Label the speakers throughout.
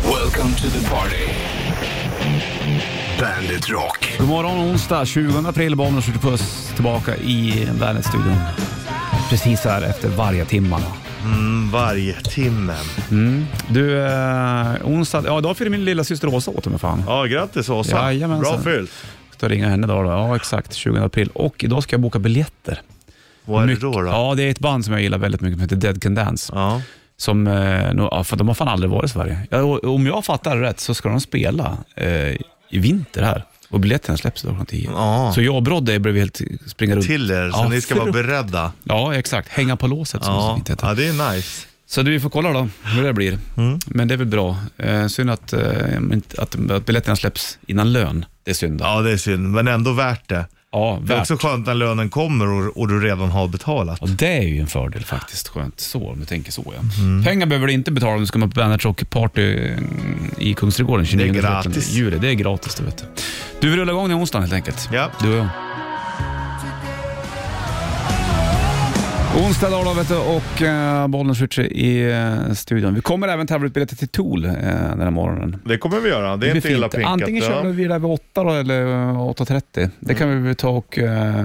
Speaker 1: Welcome to the party. Bandit Rock.
Speaker 2: God morgon onsdag 20 april, Bollnäs skjuter puss tillbaka i Bandet-studion. Precis här efter varje timmarna.
Speaker 3: Mm, vargtimmen.
Speaker 2: Du, eh, onsdag, ja idag fyller min lilla syster Åsa åt mig fan.
Speaker 3: Ja, grattis Åsa.
Speaker 2: Jajamensan.
Speaker 3: Bra fyllt.
Speaker 2: Ska ringa henne idag då. Ja exakt, 20 april. Och idag ska jag boka biljetter.
Speaker 3: Vad är det
Speaker 2: Mycket-
Speaker 3: då? då?
Speaker 2: Ja, det är ett band som jag gillar väldigt mycket som heter Dead Can Dance.
Speaker 3: Ja.
Speaker 2: Som, eh, nå- ja, för de har fan aldrig varit i Sverige. Ja, och- om jag fattar rätt så ska de spela eh, i vinter här. Och biljetterna släpps idag klockan 10.
Speaker 3: Ja.
Speaker 2: Så jag och Brodde blev helt springa runt.
Speaker 3: Till er, så
Speaker 2: Ja,
Speaker 3: ni ska
Speaker 2: fru-
Speaker 3: vara beredda.
Speaker 2: Ja, exakt. Hänga på låset som det så
Speaker 3: Ja.
Speaker 2: fint heter.
Speaker 3: ja, det är nice.
Speaker 2: Så du, vi får kolla då hur det blir.
Speaker 3: Mm.
Speaker 2: Men det är väl bra. Eh, synd att, eh, inte- att, att biljetterna släpps innan lön. Det är synd. då.
Speaker 3: Ja, det är synd, men ändå värt det.
Speaker 2: ja
Speaker 3: Det är
Speaker 2: värt.
Speaker 3: också skönt när lönen kommer och, och du redan har betalat.
Speaker 2: Och det är ju en fördel faktiskt. Skönt så, om du tänker så. Ja.
Speaker 3: Mm.
Speaker 2: Pengar behöver du inte betala om du ska med på Bandage Rock Party mm, i Kungsträdgården 29
Speaker 3: gratis.
Speaker 2: juli. Det är gratis, det vet du. Du, vi rullar igång den onsdagen helt enkelt.
Speaker 3: Ja.
Speaker 2: Du och jag. Onsdag idag då, vet du, och eh, Bollnäs Ritchie i eh, studion. Vi kommer även tävla ut biljetter till Tool eh, den här morgonen.
Speaker 3: Det kommer vi göra, det är inte
Speaker 2: blir
Speaker 3: illa
Speaker 2: fint.
Speaker 3: pinkat.
Speaker 2: Antingen kör vi där vid 8 då, eller eh, 8.30. Det kan vi
Speaker 3: Mm.
Speaker 2: väl ta och eh,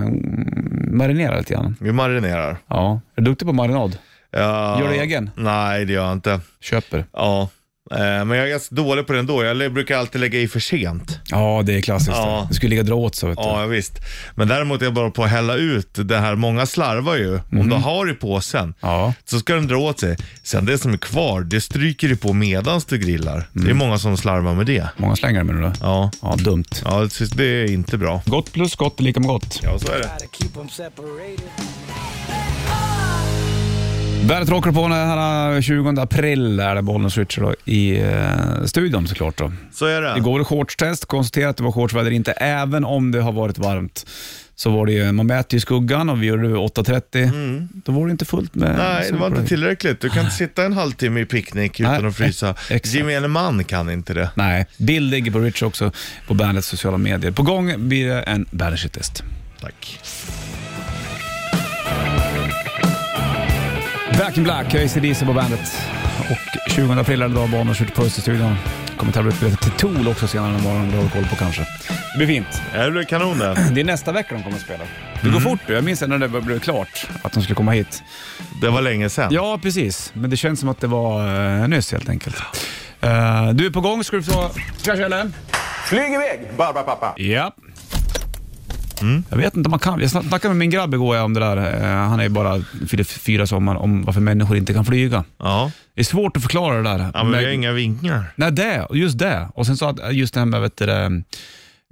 Speaker 2: marinera lite grann.
Speaker 3: Vi marinerar.
Speaker 2: Ja. Är du duktig på marinad?
Speaker 3: Ja.
Speaker 2: Gör du egen?
Speaker 3: Nej, det gör jag inte.
Speaker 2: Köper.
Speaker 3: Ja. Eh, Men jag är ganska dålig på det ändå. Jag brukar alltid lägga i för sent.
Speaker 2: Ja, det är klassiskt.
Speaker 3: Ja.
Speaker 2: Det skulle ligga och dra åt sig. Vet du.
Speaker 3: Ja, visst. Men däremot är jag bara på att hälla ut det här. Många slarvar ju.
Speaker 2: Mhm.
Speaker 3: Om du har i påsen
Speaker 2: Ja.
Speaker 3: så ska den dra åt sig. Sen det som är kvar, det stryker du på medans du grillar. Det är
Speaker 2: Mm.
Speaker 3: många som slarvar med det.
Speaker 2: Många slänger med nu då.
Speaker 3: Ja,
Speaker 2: Ja, dumt.
Speaker 3: ja det är inte bra.
Speaker 2: Gott plus gott är lika med gott.
Speaker 3: Ja, så är det.
Speaker 2: Bandet rockar på den här 20 april är det Bollnäs Ritchie då i eh, studion såklart. Då.
Speaker 3: Så är det.
Speaker 2: Igår var det shortstest, konstaterat att det var shortsväder inte, även om det har varit varmt. Så var det ju, man mäter ju skuggan och vi gjorde det vid 8.30. Då var det inte fullt med
Speaker 3: Mm. Nej, det var inte
Speaker 2: solglöd.
Speaker 3: tillräckligt. Du kan inte sitta en halvtimme i picknick utan
Speaker 2: Nej,
Speaker 3: att frysa.
Speaker 2: exakt.
Speaker 3: Gemene man kan inte det.
Speaker 2: Nej, bild ligger på Ritchie också på bandets sociala medier. På gång blir det en bandage test
Speaker 3: Tack.
Speaker 2: Back in Black, ACDC på bandet. Och 20 april är det idag, barn och skjuter puss i studion. Kommer tävla ut biljetter till Tool också senare den morgonen, det har du koll på kanske. Det blir fint.
Speaker 3: Det blir kanon det.
Speaker 2: Det är nästa vecka de kommer att spela. Det går fort du. Jag minns när det blev klart att de skulle komma hit.
Speaker 3: Det var länge sedan.
Speaker 2: Ja, precis. Men det känns som att det var uh, nyss helt enkelt. Eh, du är på gång, ska du få... Tja Kjelle!
Speaker 4: Flyg iväg, Barbara pappa.
Speaker 2: Ja. Mm. Jag vet inte om man kan. Jag snackade med min grabb igår om det där. Eh, han är ju bara fyller fyra sommar om varför människor inte kan flyga.
Speaker 3: Ja,
Speaker 2: Det är svårt att förklara det där.
Speaker 3: ja men vi
Speaker 2: Men-
Speaker 3: har inga vingar.
Speaker 2: Nej, det. och Just det. Och sen så att eh, just det här med vet du, det,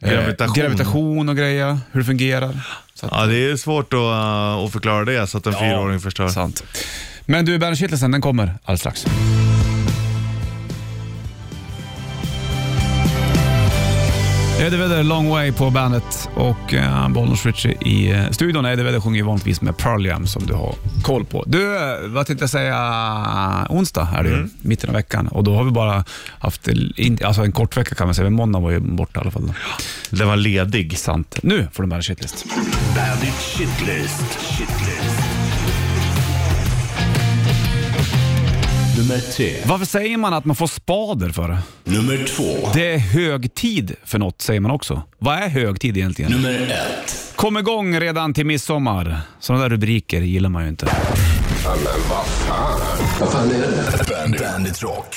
Speaker 2: eh,
Speaker 3: Gravitation.
Speaker 2: gravitation och grejer, hur det fungerar. Så att,
Speaker 3: Ja, det är svårt att, uh, att förklara det så att en fyraåring förstör.
Speaker 2: Sant. Men du, Bandet-kittelsen, den kommer alldeles strax. Eddie Vedder, Long Way på bandet och eh, Bollnäs Ritchie i eh, studion. Eddie Vedder sjunger ju vanligtvis med Pearl Jam som du har koll på. Du, eh, vad tänkte jag säga? Onsdag är det ju, mitten av veckan. Och då har vi bara haft eh, in, alltså en kort vecka kan man säga, men måndag var ju borta i alla fall.
Speaker 3: Den var ledig.
Speaker 2: Sant. Nu får du Bandet Shitlist.
Speaker 1: Bandit Shitlist. Shitlist. Nummer tre.
Speaker 2: Varför säger man att man får spader för?
Speaker 1: Nummer två.
Speaker 2: Det är hög tid för något, säger man också. Vad är hög tid egentligen?
Speaker 1: Nummer ett.
Speaker 2: Kom igång redan till midsommar. Sådana där rubriker gillar man ju inte.
Speaker 1: Bandit, Bandit Rock.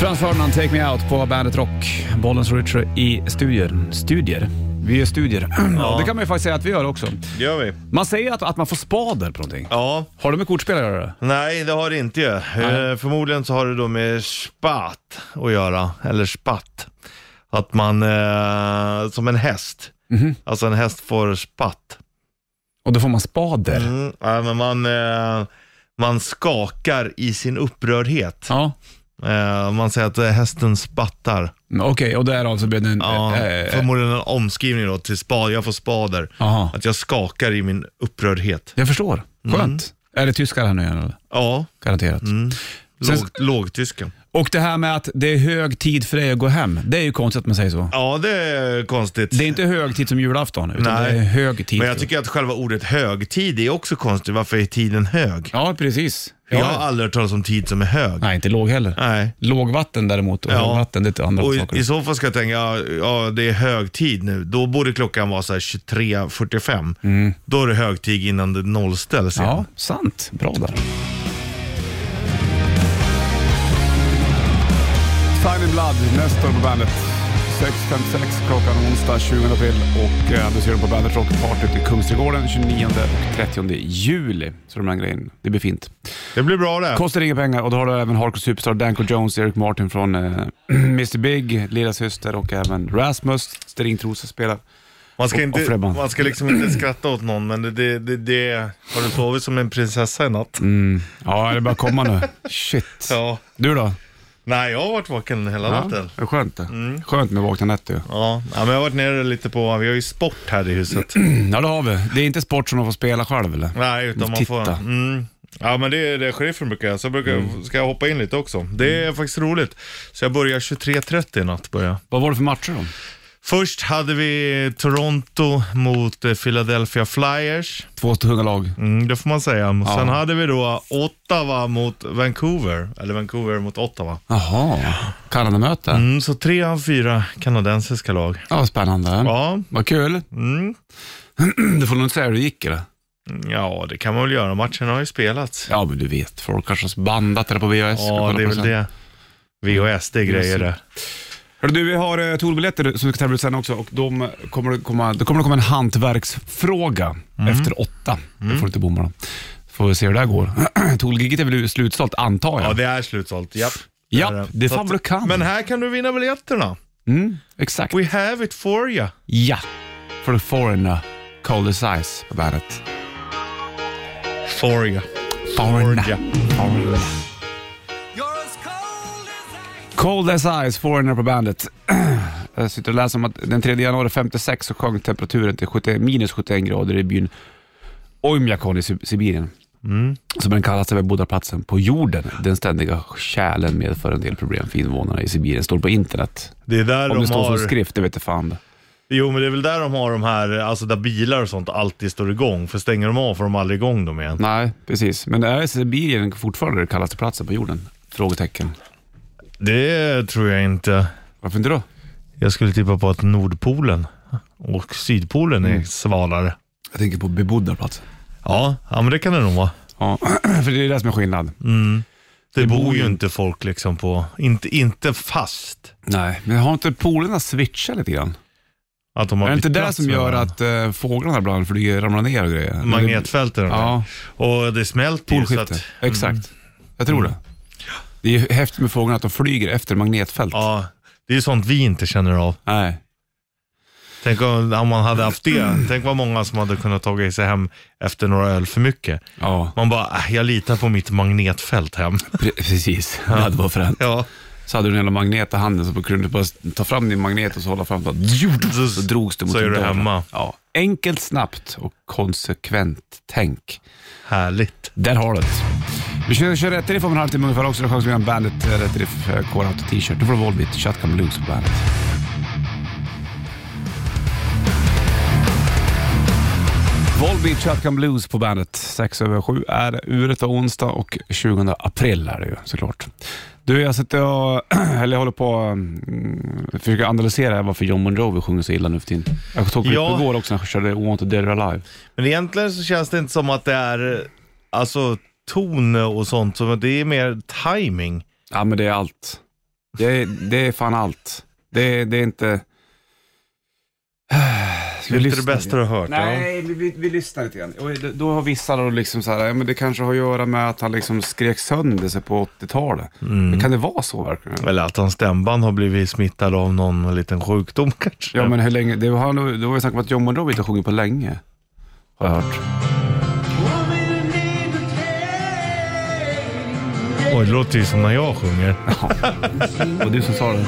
Speaker 2: Frans Ferdinand, Take Me Out på Bandet Rock. Bollens Ritchie i studier. Studier? Vi gör studier. Ja. Det kan man ju faktiskt säga att vi gör också.
Speaker 3: Det gör vi.
Speaker 2: Man säger att, att man får spader på någonting.
Speaker 3: Ja,
Speaker 2: Har det med kortspel att göra?
Speaker 3: nej det har det inte ju. Eh, förmodligen så har det då med spat att göra, eller spatt. Att man, eh, som en häst.
Speaker 2: Mhm.
Speaker 3: Alltså en häst får spatt.
Speaker 2: Och då får man spader.
Speaker 3: Mm, ja, men man, eh, man skakar i sin upprördhet.
Speaker 2: Ja.
Speaker 3: Eh, man säger att eh, hästen spattar.
Speaker 2: Mm, Okej, och därav så blir det en...
Speaker 3: Ja,
Speaker 2: eh, eh,
Speaker 3: förmodligen en omskrivning då till spad, jag får spader.
Speaker 2: Aha.
Speaker 3: Att jag skakar i min upprördhet.
Speaker 2: Jag förstår. Skönt.
Speaker 3: Mm.
Speaker 2: Är det tyskar här nu igen eller?
Speaker 3: Ja,
Speaker 2: Garanterat.
Speaker 3: Mm.
Speaker 2: Sen-
Speaker 3: låg, lågtyska.
Speaker 2: Och det här med att det är hög tid för dig att gå hem. Det är ju konstigt att man säger så.
Speaker 3: Ja, det är konstigt.
Speaker 2: Det är inte hög tid som julafton, utan
Speaker 3: Nej.
Speaker 2: det är hög tid.
Speaker 3: Men jag tycker att själva ordet högtid är också konstigt. Varför är tiden hög?
Speaker 2: Ja, precis.
Speaker 3: Jag
Speaker 2: Ja.
Speaker 3: har aldrig hört talas om tid som är hög.
Speaker 2: Nej, inte låg heller.
Speaker 3: Nej.
Speaker 2: Lågvatten däremot och
Speaker 3: Ja.
Speaker 2: högvatten, det är andra
Speaker 3: Och i,
Speaker 2: saker.
Speaker 3: i så fall ska jag tänka, ja, ja det är högtid nu. Då borde klockan vara så här 23.45. Då är det högtid innan det nollställs igen.
Speaker 2: Mm. Ja, sant. Bra där.
Speaker 5: Tiny Blood, Nestor på bandet. 6.56 klockan onsdag 20 april och eh, du ser dem på Bandet Rock Party i Kungsträdgården 29 och 30 juli. Så de här grejerna, det blir fint.
Speaker 3: Det blir bra det.
Speaker 5: Kost-
Speaker 2: Kostar inga pengar och då har du även Hardcore Superstar, Danko Jones, Eric Martin från eh, Mr Big, lillasyster och även Rasmus, Stringtrosa spelar.
Speaker 3: Man ska,
Speaker 2: och
Speaker 3: inte,
Speaker 2: Frebban.
Speaker 3: man ska liksom inte skratta åt någon, men det, det, det, det har du sovit som en prinsessa i natt?
Speaker 2: Mm. Ja, det börjar komma nu. Shit.
Speaker 3: Ja.
Speaker 2: Du då?
Speaker 3: Nej, jag har varit vaken hela natten.
Speaker 2: det är skönt det. Skönt med vakna nätter ju.
Speaker 3: Ja. ja, men jag har varit nere lite på, vi har ju sport här i huset.
Speaker 2: Ja, det har vi. Det är inte sport som man får spela själv eller?
Speaker 3: Nej, utan man får...
Speaker 2: Titta. Mm.
Speaker 3: Mm. Ja, men det är det sheriffen brukar göra. Så brukar, ska jag hoppa in lite också. Det är faktiskt roligt. Så jag börjar 23.30 i natt. Börjar. jag.
Speaker 2: Vad var det för matcher då?
Speaker 3: Först hade vi Toronto mot eh, Philadelphia Flyers.
Speaker 2: Två tunga lag.
Speaker 3: Mm, det får man säga.
Speaker 2: Ja.
Speaker 3: Sen hade vi då Ottawa mot Vancouver. Eller Vancouver mot Ottawa.
Speaker 2: Jaha, Kanadamöte.
Speaker 3: Mm, så tre av fyra kanadensiska lag.
Speaker 2: Ja, vad spännande.
Speaker 3: Ja,
Speaker 2: Vad kul.
Speaker 3: mm.
Speaker 2: Du får nog inte säga hur det gick eller?
Speaker 3: ja, det kan man väl göra. Matchen har ju spelats.
Speaker 2: Ja, men du vet. Folk kanske har bandat det där på VHS. Ska
Speaker 3: Ja,
Speaker 2: kolla
Speaker 3: det är
Speaker 2: på
Speaker 3: väl
Speaker 2: sen.
Speaker 3: det. VHS, det är grejer det.
Speaker 2: Hörru du, vi har eh, Tourbiljetter som vi ska tävla ut sen också och de kommer det komma, det kommer det komma en hantverksfråga
Speaker 3: Mm.
Speaker 2: efter åtta. Det får du inte bomma då. Får vi se hur det här går. Tourgigget är väl slutsålt antar jag?
Speaker 3: Ja, det är slutsålt. Japp.
Speaker 2: Japp,
Speaker 3: är
Speaker 2: det är
Speaker 3: Så
Speaker 2: fan
Speaker 3: att-
Speaker 2: vad du kan.
Speaker 3: Men här kan du vinna biljetterna.
Speaker 2: mm, exakt.
Speaker 3: We have it for you.
Speaker 2: Ja, för the foreigner, Cold as Ice på bandet.
Speaker 3: For you.
Speaker 2: Foreigner. Foreigner. Cold as Ice, Foreigner på bandet. Jag sitter och läser om att den 3 januari 56 så sjönk temperaturen till 70, minus 71 grader i byn Oymyakon i Sib- Sibirien. Som den kallas över bodaplatsen på jorden. Den ständiga kärlen medför en del problem för invånarna i Sibirien. Står på internet.
Speaker 3: Det är där
Speaker 2: Om det
Speaker 3: de
Speaker 2: står
Speaker 3: har...
Speaker 2: som skrift, det vet jag fan.
Speaker 3: Jo, men det är väl där de har de här, alltså där bilar och sånt alltid står igång. För stänger de av får de aldrig igång dem igen.
Speaker 2: Nej, precis. Men är Sibirien fortfarande den kallaste platsen på jorden? Frågetecken.
Speaker 3: Det tror jag inte.
Speaker 2: Varför inte då?
Speaker 3: Jag skulle tippa på att Nordpolen och Sydpolen
Speaker 2: Mm.
Speaker 3: är svalare.
Speaker 2: Jag tänker på bebodda plats.
Speaker 3: Ja, ja men det kan det nog vara.
Speaker 2: Ja, för det är det som är skillnad.
Speaker 3: Det, bor ju inte folk liksom på, inte, inte fast.
Speaker 2: Nej, men har inte polerna switchat lite grann?
Speaker 3: Att de har
Speaker 2: Är det inte
Speaker 3: bytt
Speaker 2: det
Speaker 3: plats
Speaker 2: som
Speaker 3: med
Speaker 2: gör
Speaker 3: varandra.
Speaker 2: att eh, fåglarna ibland flyger, ramlar ner och grejer?
Speaker 3: Magnetfälten
Speaker 2: Ja,
Speaker 3: och det smälter ju. så
Speaker 2: polskifte.
Speaker 3: att- Mm.
Speaker 2: Exakt. Jag tror det. Det är ju häftigt med fåglarna att de flyger efter magnetfält.
Speaker 3: Ja, det är ju sånt vi inte känner av.
Speaker 2: Nej.
Speaker 3: Tänk om om man hade haft det. Tänk vad många som hade kunnat ta sig hem efter några öl för mycket.
Speaker 2: Ja,
Speaker 3: Man bara, "Äh, jag litar på mitt magnetfält hem.
Speaker 2: pre- precis. Det hade varit fränt.
Speaker 3: Ja.
Speaker 2: Så hade du en jävla magnet i handen så kunde du bara ta fram din magnet och så hålla fram den.
Speaker 3: Så,
Speaker 2: Så drogs du mot
Speaker 3: så är
Speaker 2: din
Speaker 3: du
Speaker 2: dörr.
Speaker 3: hemma.
Speaker 2: Ja. Enkelt, snabbt och konsekvent tänk.
Speaker 3: Härligt.
Speaker 2: Där har du det. Vi kör, kör rätt riff om en halvtimme ungefär också. Då chans att vinna en Bandet eh, Rätt Riff eh, Core Auto T-shirt. Då får du Volbeat, Shotgun Blues på Bandet. Volbeat, Shotgun Blues på Bandet. 6 över 7 är uret och onsdag och 20 april är det ju såklart. Du, jag sitter och, eller jag håller på mm, försöker analysera varför John Monroe sjunger så illa nu för tiden. Jag såg klipp
Speaker 3: Ja.
Speaker 2: igår också när han körde I Want to Dead or Alive.
Speaker 3: Men egentligen så känns det inte som att det är eh, alltså, ton och sånt. Så det är mer timing.
Speaker 2: Ja, men det är allt. Det är, det är fan allt. Det är, det är inte...
Speaker 3: Det är inte det bästa du har hört. ja.
Speaker 2: Nej, vi, vi, vi lyssnar lite grann. Och då- då har vissa då liksom så här, ja, men det kanske har att göra med att han liksom skrek sönder sig på 80-talet. Men kan det vara så verkligen?
Speaker 3: Eller att hans stämband har blivit smittad av någon liten sjukdom kanske.
Speaker 2: Ja, men hur länge? Det var, det var ju snack om att John Monroe inte har sjungit på länge. Har jag hört.
Speaker 3: Oj, det låter ju som när jag sjunger.
Speaker 2: Och du som sa det.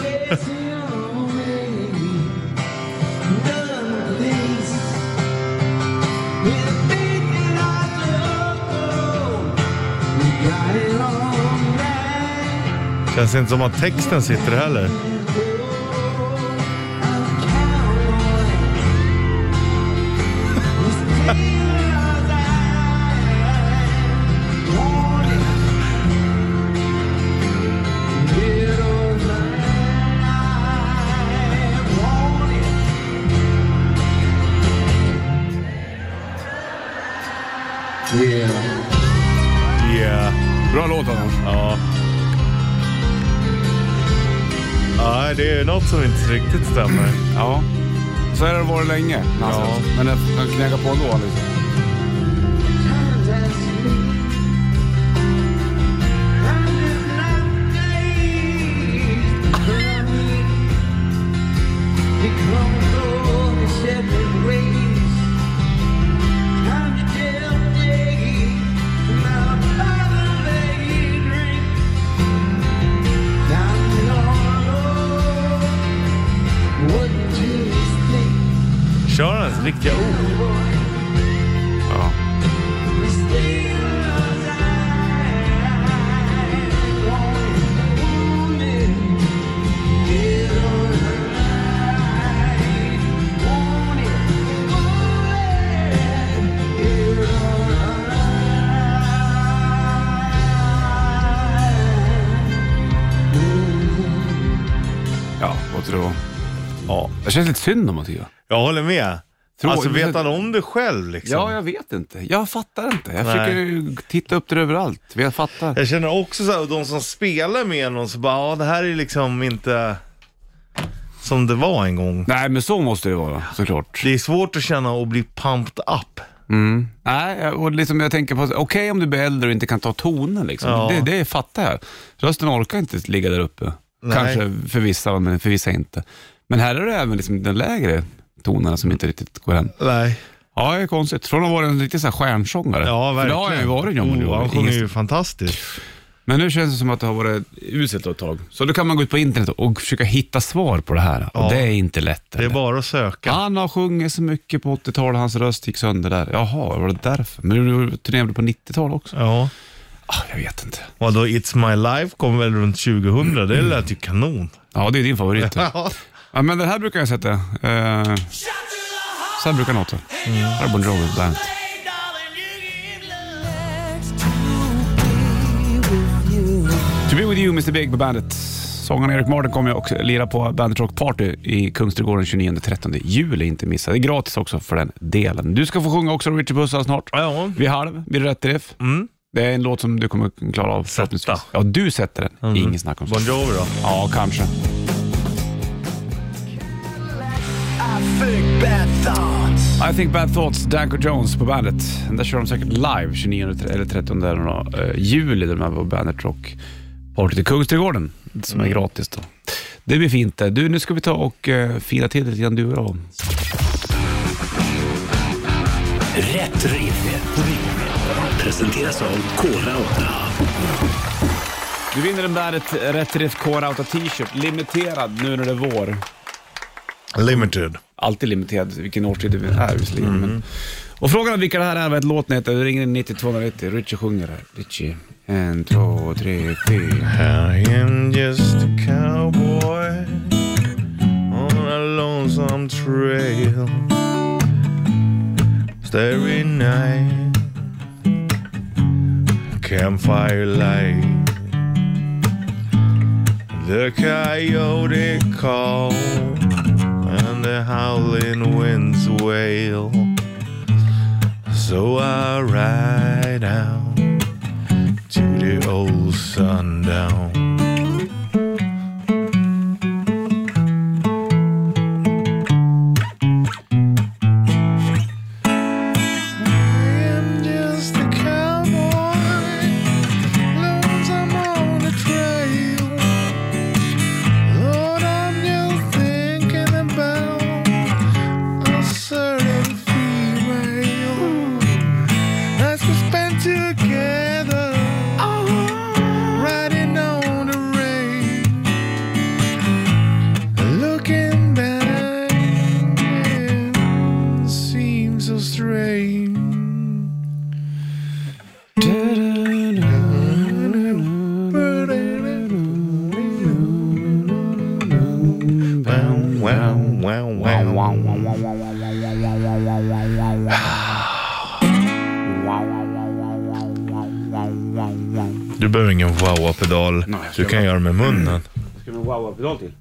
Speaker 3: Känns inte som att texten sitter heller. Nej, det är något som inte riktigt stämmer.
Speaker 2: Ja. Så här har det varit länge, Nansen.
Speaker 3: Ja.
Speaker 2: Men den den knägar på ändå. Liksom.
Speaker 3: Kör han ens riktiga ord?
Speaker 2: Ja. Ja, vad tror du?
Speaker 3: Ja.
Speaker 2: Det känns lite synd om Mattias.
Speaker 3: Jag håller med.
Speaker 2: Tror-
Speaker 3: alltså, vet han om det själv liksom?
Speaker 2: Ja, jag vet inte. Jag fattar inte. Jag
Speaker 3: Nej.
Speaker 2: försöker ju titta upp det överallt. Jag fattar.
Speaker 3: Jag känner också så här, och de som spelar med någon så bara, ja det här är liksom inte som det var en gång.
Speaker 2: Nej, men så måste det vara såklart.
Speaker 3: Det är svårt att känna och bli pumped up.
Speaker 2: Nej, jag- och liksom jag tänker på, okej om du blir äldre och inte kan ta tonen liksom.
Speaker 3: Ja.
Speaker 2: Det, det fattar jag. Rösten orkar inte ligga där uppe. Kanske för vissa, men för vissa inte. Men här är det även liksom den lägre tonerna som inte riktigt går hem.
Speaker 3: Nej.
Speaker 2: Ja, det är konstigt. Från att vara en riktig så här stjärnsångare.
Speaker 3: Ja,
Speaker 2: För det
Speaker 3: verkligen.
Speaker 2: har jag ju varit John
Speaker 3: oh,
Speaker 2: Bon
Speaker 3: Han
Speaker 2: Jovi.
Speaker 3: sjunger
Speaker 2: Ingen-
Speaker 3: ju fantastiskt.
Speaker 2: Men nu känns det som att det har varit uselt ett tag. Så då kan man gå ut på internet och försöka hitta svar på det här.
Speaker 3: Ja.
Speaker 2: Och det är inte lätt.
Speaker 3: Det är
Speaker 2: eller?
Speaker 3: bara att söka.
Speaker 2: Han har sjungit så mycket på 80-talet, hans röst gick sönder där. Jaha, var det därför? Men du turnerade på 90-talet också?
Speaker 3: Ja.
Speaker 2: Ah, jag vet inte.
Speaker 3: Vadå, It's My Life kom väl runt 2000? Det lät ju kanon.
Speaker 2: Ja, det är din favorit.
Speaker 3: Ja.
Speaker 2: ja, men den här brukar jag sätta. Eh, så här brukar den låta.
Speaker 3: Mm.
Speaker 2: Här är Bon Jovi, Bandet. To be with you, Mr Big på bandet. Sångaren Eric Martin kommer ju också lira på Bandet Rock Party i Kungsträdgården 29-30 juli. Inte missa. Det är gratis också för den delen. Du ska få sjunga också Richard Puss alldeles snart.
Speaker 3: Ja.
Speaker 2: Vid halv, blir det rätt träff.
Speaker 3: Mm.
Speaker 2: Det är en låt som du kommer klara av förhoppningsvis. Ja, du sätter den. Ingen snack om
Speaker 3: Mm. Bon
Speaker 2: saken.
Speaker 3: Jovi då?
Speaker 2: Ja, kanske. I think bad thoughts, Danko Jones på bandet. Där kör de säkert live 29 eller 30 eller något, eh, juli, de här på Bandet Rock Party i Kungsträdgården, som är gratis då. Det blir fint det. Du, nu ska vi ta och eh, fira till det lite grann du och jag.
Speaker 1: Rätt riff. Presenteras av Kora 8.
Speaker 2: Du vinner en Bandet Rätt Riff Core Outa T-shirt, limiterad nu när det är vår.
Speaker 3: Limited.
Speaker 2: alltid limiterad vilken årstid det är visserligen. Men... Mm. Och frågan är vilka det här är, vad ett låten heter. Du ringer in 90 290. Richie sjunger här. Richie. En, två, tre, fyra.
Speaker 3: I am just a cowboy on a lonesome trail. Starry night, campfire light. The coyote call and the howling winds wail. So I ride out to the old sundown. I am just a cowboy, lonesome on the trail. Lord, I'm just thinking about a certain female as we spend together, riding on the rain, looking back, it seems so strange. Wow, wow, wow, wow, wow. Du behöver ingen wowa-pedal. Du kan göra med munnen. Mm.
Speaker 2: Ska vi wow-pedal till?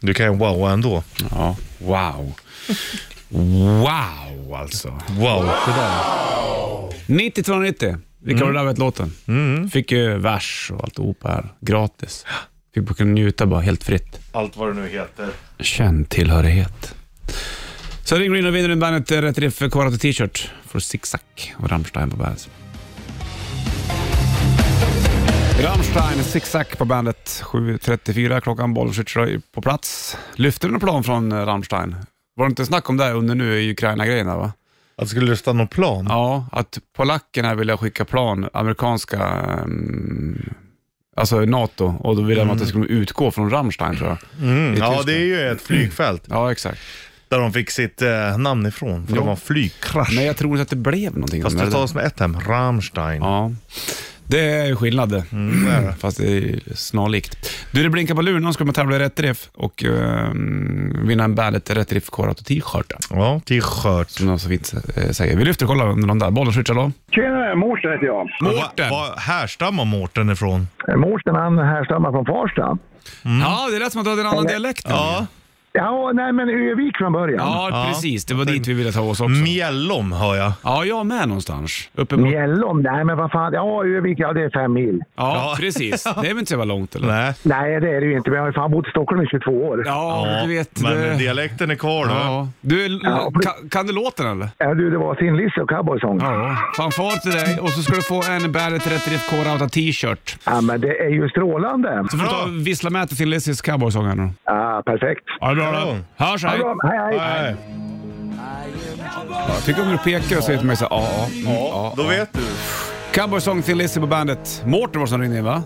Speaker 3: Du kan ju wowa ändå.
Speaker 2: Ja. Wow. Wow alltså.
Speaker 3: Wow.
Speaker 2: 90 290. Vilka var det där vet låten? Fick ju vers och alltihopa här gratis. Fick bara kunna njuta bara helt fritt.
Speaker 3: Allt vad det nu heter.
Speaker 2: Känn tillhörighet. Så ring Green och vinner en bandet eh, Rätt Riff Kvarat och T-shirt. Får Zigzag och Rammstein på bandet. Rammstein, Zigzag på bandet. 7.34 klockan, Bollswitch på plats. Lyfter du någon plan från eh, Rammstein? Var det inte snack om det här under nu i Ukraina-grejen där, va?
Speaker 3: Att det skulle lyfta någon plan?
Speaker 2: Ja, att polackerna ville skicka plan, amerikanska, ehm, alltså NATO, och då ville de att det skulle utgå från Rammstein tror jag.
Speaker 3: Mm,
Speaker 2: I
Speaker 3: ja,
Speaker 2: Tyskland.
Speaker 3: det är ju ett flygfält
Speaker 2: Ja, exakt.
Speaker 3: där de fick sitt eh, namn ifrån. För
Speaker 2: Ja.
Speaker 3: det var en flygkrasch.
Speaker 2: Men jag tror inte att det blev någonting.
Speaker 3: Fast
Speaker 2: med
Speaker 3: det
Speaker 2: det där.
Speaker 3: stavas med ett hem, Rammstein.
Speaker 2: Ja, det är ju skillnad det.
Speaker 3: Mm, det är det.
Speaker 2: Fast det är snarlikt. Du, det blinkar på luren. Någon ska man tävla i rätt riff och eh, vinna en Bandet Rätt Riff Korat och T-shirt.
Speaker 3: Ja, t-shirt.
Speaker 2: Som de så fint eh, säger. Vi lyfter och kollar under de där. Bollen switchar då.
Speaker 6: Tjenare, Mårten heter jag.
Speaker 2: Mårten!
Speaker 3: Va- va- härstammar Mårten ifrån?
Speaker 6: Mårten han härstammar från Farsta.
Speaker 3: Mm.
Speaker 2: Ja, det lät som att du hade en annan dialekt. än
Speaker 3: Ja.
Speaker 6: Ja, nej men Övik från början.
Speaker 2: Ja, precis. Det var dit vi ville ta oss också.
Speaker 3: Mjällom hör jag.
Speaker 2: Ja, jag med någonstans. Uppe mot...
Speaker 6: Mjällom, nej men vad fan. Ja, Övik, ja det är fem mil.
Speaker 2: Ja,
Speaker 3: Ja.
Speaker 2: precis. Det är väl inte så jävla långt eller?
Speaker 3: Nej.
Speaker 6: Nej, det är det ju inte. Men jag har ju fan bott i Stockholm i 22 år.
Speaker 2: Ja, du vet.
Speaker 3: men
Speaker 2: det...
Speaker 3: dialekten är kvar då.
Speaker 2: Ja. Du, l-
Speaker 6: Ja, precis.
Speaker 2: kan, kan du låten eller?
Speaker 6: Ja, du, det var Thin Lizzy och Cowboysång. Ja.
Speaker 2: Ja. Fanfar till dig och så ska du få en Bandet Rätt Riff K-Rauta t-shirt.
Speaker 6: men det är ju strålande.
Speaker 2: Så får du ta
Speaker 3: Bra.
Speaker 2: och vissla med till Lizzys cowboysångare nu.
Speaker 6: Ja, perfekt.
Speaker 2: Ja, det är bra
Speaker 3: Kanon.
Speaker 2: det. Hörs, hej.
Speaker 6: Bra, hej, hej.
Speaker 3: Nej.
Speaker 2: Jag tycker om du pekar och säger till mig så här, ja, ja. Mm,
Speaker 3: Ja,
Speaker 2: ja.
Speaker 3: då vet du.
Speaker 2: Cowboysång till Lizzy på bandet. Mårten var som ringde in va?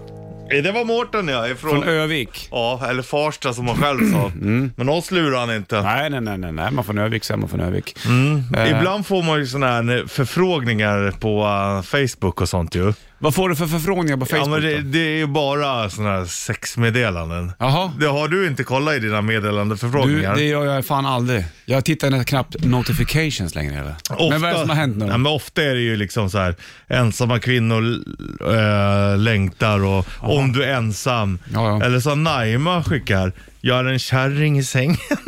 Speaker 3: Eh, Det var Mårten ja, ifrån...
Speaker 2: Från Övik.
Speaker 3: ja, eller Farsta som han själv sa. Men oss lurar han inte.
Speaker 2: Nej, nej, nej, nej, nej. man från Övik så är man från Övik.
Speaker 3: Mm.
Speaker 2: Eh,
Speaker 3: Ibland får man ju sådana här eh, förfrågningar på eh, Facebook och sånt ju.
Speaker 2: Vad får du för förfrågningar på Facebook
Speaker 3: ja, men det,
Speaker 2: då?
Speaker 3: det är ju bara sådana här sexmeddelanden.
Speaker 2: Jaha.
Speaker 3: Det har du inte kollat i dina
Speaker 2: Du,
Speaker 3: meddelandeförfrågningar?
Speaker 2: det gör jag fan aldrig. Jag tittar nä- knappt notifications längre heller. Men vad är det som har hänt nu
Speaker 3: Ja,
Speaker 2: då?
Speaker 3: men ofta är det ju liksom så här, ensamma kvinnor äh, längtar och om du är ensam.
Speaker 2: Ja, ja.
Speaker 3: Eller som Naima skickar, jag är en kärring i sängen.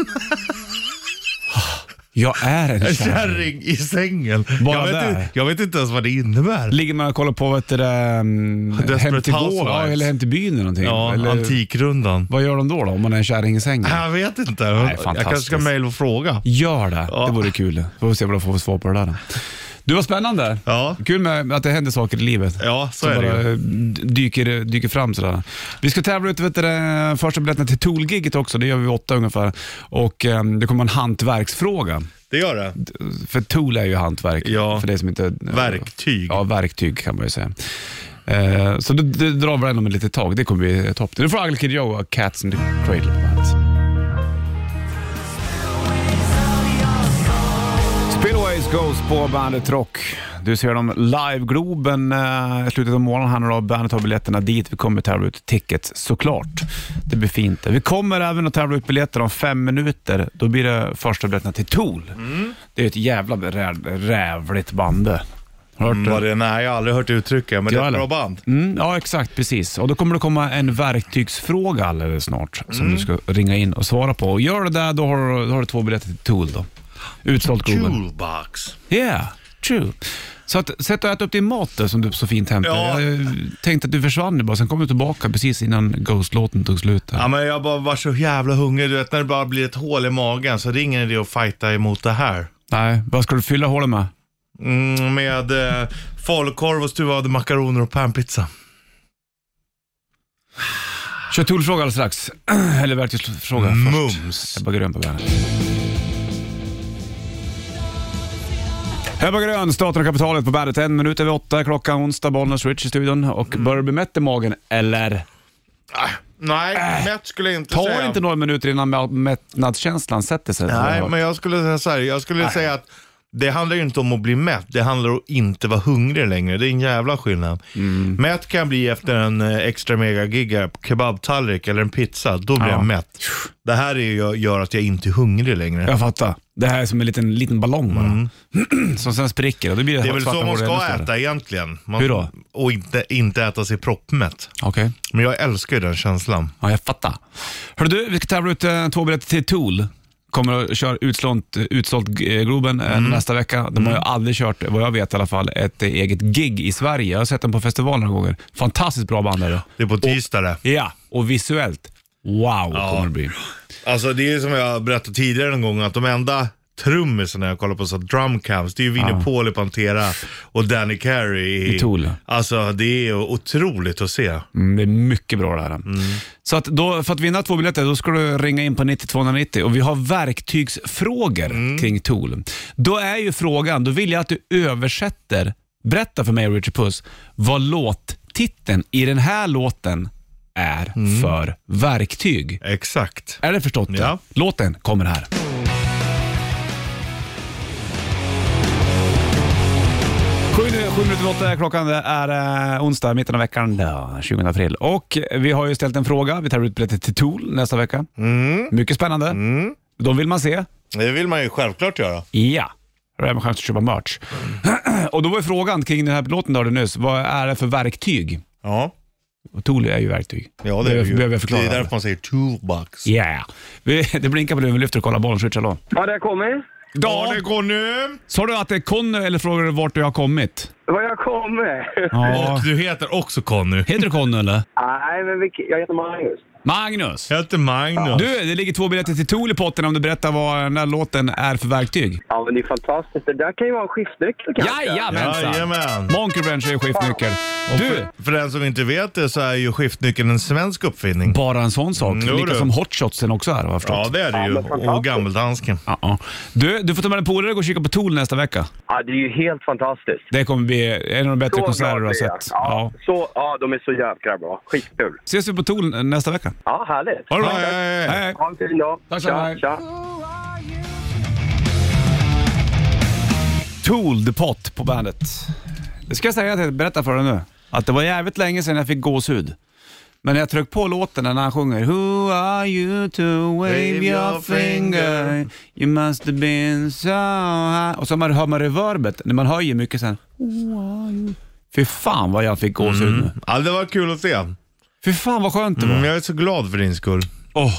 Speaker 2: Jag är en
Speaker 3: En
Speaker 2: kärring.
Speaker 3: kärring i sängen.
Speaker 2: Bara
Speaker 3: jag, vet
Speaker 2: där.
Speaker 3: inte, jag vet inte ens vad det innebär.
Speaker 2: Ligger man och kollar på vet du, det, um,
Speaker 3: Desperate
Speaker 2: Hem till gården, ja,
Speaker 3: Housewives.
Speaker 2: eller Hem till byn eller någonting?
Speaker 3: Ja,
Speaker 2: eller,
Speaker 3: Antikrundan.
Speaker 2: Vad gör de då, då om man är en kärring i sängen?
Speaker 3: Jag vet inte. jag
Speaker 2: fantastiskt.
Speaker 3: kanske ska mejla och fråga.
Speaker 2: Gör det.
Speaker 3: Ja.
Speaker 2: Det vore kul. Får vi se vad du får för svar på det där. då. Du, var spännande.
Speaker 3: Ja.
Speaker 2: Kul med att det händer saker i livet.
Speaker 3: Ja, så
Speaker 2: som
Speaker 3: är det
Speaker 2: bara
Speaker 3: ju.
Speaker 2: eh, dyker, dyker fram sådär. Vi ska tävla ut vet du, det, första biljetterna till Tool-giget också. Det gör vi vid åtta ungefär. Och eh, det kommer en hantverksfråga.
Speaker 3: Det gör det.
Speaker 2: För Tool är ju hantverk.
Speaker 3: Ja.
Speaker 2: För dig som inte,
Speaker 3: Verktyg.
Speaker 2: Ja, verktyg kan man ju säga. Eh, så det, det drar vi den om ett litet tag. Det kommer bli topp. Nu får Ugly Kid Joe och Cats in the Cradle på bandet. Spillways Goes på Bandet Rock. Du ser dem live Globen eh, i slutet av månaden. här nu då. Bandet har biljetterna dit. Vi kommer tävla ut tickets såklart. Det blir fint. det. Vi kommer även att tävla ut biljetter om fem minuter. Då blir det första biljetterna till Tool.
Speaker 3: Mm.
Speaker 2: Det är ett jävla rä- rävligt band det. Har du hört det?
Speaker 3: Vad Mm. det, nej, jag har aldrig hört det uttrycket, men det är ett
Speaker 2: Eller?
Speaker 3: bra band.
Speaker 2: Mm, ja, exakt. Precis. Och Då kommer det komma en verktygsfråga alldeles snart som
Speaker 3: Mm.
Speaker 2: du ska ringa in och svara på. Och Gör du det, då har du, då har du två biljetter till Tool. Då. Utsålt Globen.
Speaker 3: Toolbox.
Speaker 2: Yeah, true. Så att, sätt och ät upp din mat där, som du så fint hämtade.
Speaker 3: Ja.
Speaker 2: Jag eh, tänkte att du försvann nu bara, sen kom du tillbaka precis innan Ghost-låten tog slut. där.
Speaker 3: Ja, men jag bara var så jävla hungrig. Du vet när det bara blir ett hål i magen så ringer det att fighta emot det här.
Speaker 2: Nej, vad ska du fylla hålet med?
Speaker 3: Mm, med eh, falukorv och stuvade makaroner och panpizza.
Speaker 2: Kör Tool-fråga alldeles strax. Eller verktygsfråga först.
Speaker 3: Mums.
Speaker 2: Ebba Grön på bandet. Ebba Grön, Staten och kapitalet på bandet. En minut över åtta klockan onsdag. Bollnäs Rich i studion. Och
Speaker 3: Mm.
Speaker 2: börjar du bli mätt i magen, eller?
Speaker 3: Nej, mätt skulle jag inte
Speaker 2: Äh. Ta
Speaker 3: säga.
Speaker 2: inte några minuter innan mä- mättnadskänslan sätter sig.
Speaker 3: Nej, men jag skulle säga så här. Jag skulle säga att det handlar ju inte om att bli mätt. Det handlar om att inte vara hungrig längre. Det är en jävla skillnad.
Speaker 2: Mm.
Speaker 3: Mätt kan jag bli efter en eh, extra mega giga kebabtallrik eller en pizza. Då blir
Speaker 2: Ja.
Speaker 3: jag mätt. Det här är ju, gör att jag inte är hungrig längre.
Speaker 2: Jag fattar. Det här är som en liten, liten ballong bara. Som sen spricker och då blir det
Speaker 3: Mm. Det är väl
Speaker 2: svarta
Speaker 3: så man
Speaker 2: hål ännu
Speaker 3: ska
Speaker 2: större.
Speaker 3: äta egentligen. Man,
Speaker 2: Hur då?
Speaker 3: Och inte, inte äta sig proppmätt.
Speaker 2: Okej,
Speaker 3: Men jag älskar ju den känslan.
Speaker 2: ja, jag fattar. Hörru du, vi ska tävla ut eh, två biljetter till Tool. Kommer att köra utslånt, utsålt eh, Globen eh, nästa vecka. De har ju aldrig kört, vad jag vet i alla fall, ett eh, eget gig i Sverige. Jag har sett dem på festival några gånger. Fantastiskt bra band är det.
Speaker 3: Det är på tisdag det.
Speaker 2: Ja, och visuellt. Wow kommer det bli.
Speaker 3: Alltså det är som jag berättade tidigare någon gång att de enda trummisarna jag kollar på så här drumcams, det är ju Vinnie Paul i Pantera och Danny Carey
Speaker 2: I Tool.
Speaker 3: Alltså det är otroligt att se.
Speaker 2: Mm, det är mycket bra det här. Så att då, för att vinna två biljetter, då ska du ringa in på 9290 och vi har verktygsfrågor kring Tool. Då är ju frågan, då vill jag att du översätter, berätta för mig och Richard Puss, vad låttiteln i den här låten är för verktyg.
Speaker 3: Exakt.
Speaker 2: Är det förstått? det?
Speaker 3: Ja.
Speaker 2: Låten kommer här. Sju nu- sju minuter över åtta är klockan. Det är eh, onsdag, mitten av veckan, ja, 20 april. Och vi har ju ställt en fråga. Vi tar ut biljetter till Tool nästa vecka.
Speaker 3: Mm.
Speaker 2: Mycket spännande. De vill man se.
Speaker 3: Det vill man ju självklart göra.
Speaker 2: Ja. Då har man chans att köpa merch. Och då var ju frågan kring den här låten du hörde nyss. Vad är det för verktyg?
Speaker 3: Ja,
Speaker 2: Och Tool är ju verktyg.
Speaker 3: ja det är
Speaker 2: behöver,
Speaker 3: ju.
Speaker 2: behöver jag
Speaker 3: Det
Speaker 2: förklara.
Speaker 3: är därför man säger toolbox.
Speaker 2: Yeah. Vi, det blinkar på luren. Vi lyfter och kollar bollen. Switch, hallå.
Speaker 7: Ja, det kommer.
Speaker 3: Ja, det går nu.
Speaker 2: Sa du att det är Conny eller frågade du vart du har kommit?
Speaker 7: Vad jag kommer?
Speaker 3: Och du heter också Conny.
Speaker 2: Heter du Conny eller?
Speaker 7: Nej, men vilk- jag heter Magnus.
Speaker 2: Magnus!
Speaker 3: Jag heter Magnus.
Speaker 2: Du, det ligger två biljetter till Tool i potten om du berättar vad den här låten är för verktyg.
Speaker 7: Ja, men det är fantastiskt. Det där kan ju vara en skiftnyckel kanske.
Speaker 2: Jajamensan!
Speaker 3: Jajamän.
Speaker 2: Monkey Wrench är ju skiftnyckel. Du,
Speaker 3: För den som inte vet det så är ju skiftnyckeln en svensk uppfinning.
Speaker 2: bara en sån sak.
Speaker 3: Mm, jo
Speaker 2: Lika
Speaker 3: du.
Speaker 2: som hotshotsen också är vad jag
Speaker 3: Ja,
Speaker 2: förstått.
Speaker 3: det är det ju. Och gammeldansken.
Speaker 2: Ja. Du, du får ta med en polare och gå och kika på Tool nästa vecka.
Speaker 7: Ja, det är ju helt fantastiskt.
Speaker 2: Det kommer bli Typ en av de bättre
Speaker 7: Så
Speaker 2: konserter
Speaker 7: glad
Speaker 2: du har
Speaker 7: blir jag.
Speaker 2: sett.
Speaker 7: Ja,
Speaker 2: Ja.
Speaker 7: Så, ja, de är så jäkla bra. Skitkul.
Speaker 2: Ses vi på Tool nästa vecka.
Speaker 7: Ja, härligt.
Speaker 2: Ha det bra.
Speaker 3: Ja, ja, ja, ja.
Speaker 2: Hej, hej.
Speaker 7: Ha en fin dag.
Speaker 2: Tack så
Speaker 7: Tja,
Speaker 2: mycket.
Speaker 7: tja.
Speaker 2: Tool the Pot på bandet. Det ska jag säga att jag berättar för dig nu. Att det var jävligt länge sedan jag fick gåshud. Men när jag tryckte på låten när han sjunger Who are you to wave your finger? You must have been so high. Och så man hör man reverbet när man höjer mycket sen. Who are you? Fy fan vad jag fick gåshud nu.
Speaker 3: Mm. Ja, det var kul att se.
Speaker 2: Fy fan vad skönt det var.
Speaker 3: Mm, jag är så glad för din skull.
Speaker 2: Åh,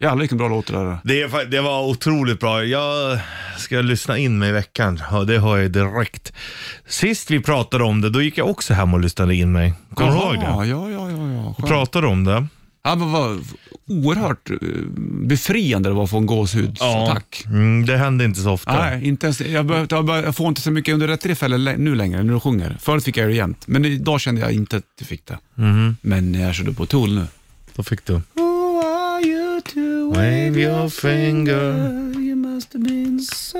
Speaker 2: jävlar vilken bra låt det där är.
Speaker 3: Det, är, fa- det var otroligt bra. Jag ska lyssna in mig i veckan. Ja, det hör jag direkt. Sist vi pratade om det, då gick jag också hem och lyssnade in mig. Kommer du ihåg det?
Speaker 2: Ja, ja, ja. ja, ja.
Speaker 3: Pratade om det.
Speaker 2: Ja, men vad oerhört eh, befriande det var att få en gåshudsattack.
Speaker 3: Mm, det händer inte så ofta.
Speaker 2: Nej, inte ens, jag, behövt, jag, behövt, jag får inte så mycket under rätt tillfälle lä- nu längre, när du sjunger. Förut fick jag det jämt, men idag kände jag inte att jag fick det. Men när jag körde på Tool nu.
Speaker 3: Då fick du.
Speaker 2: Who are you to
Speaker 3: Wave your finger.
Speaker 2: You must have been so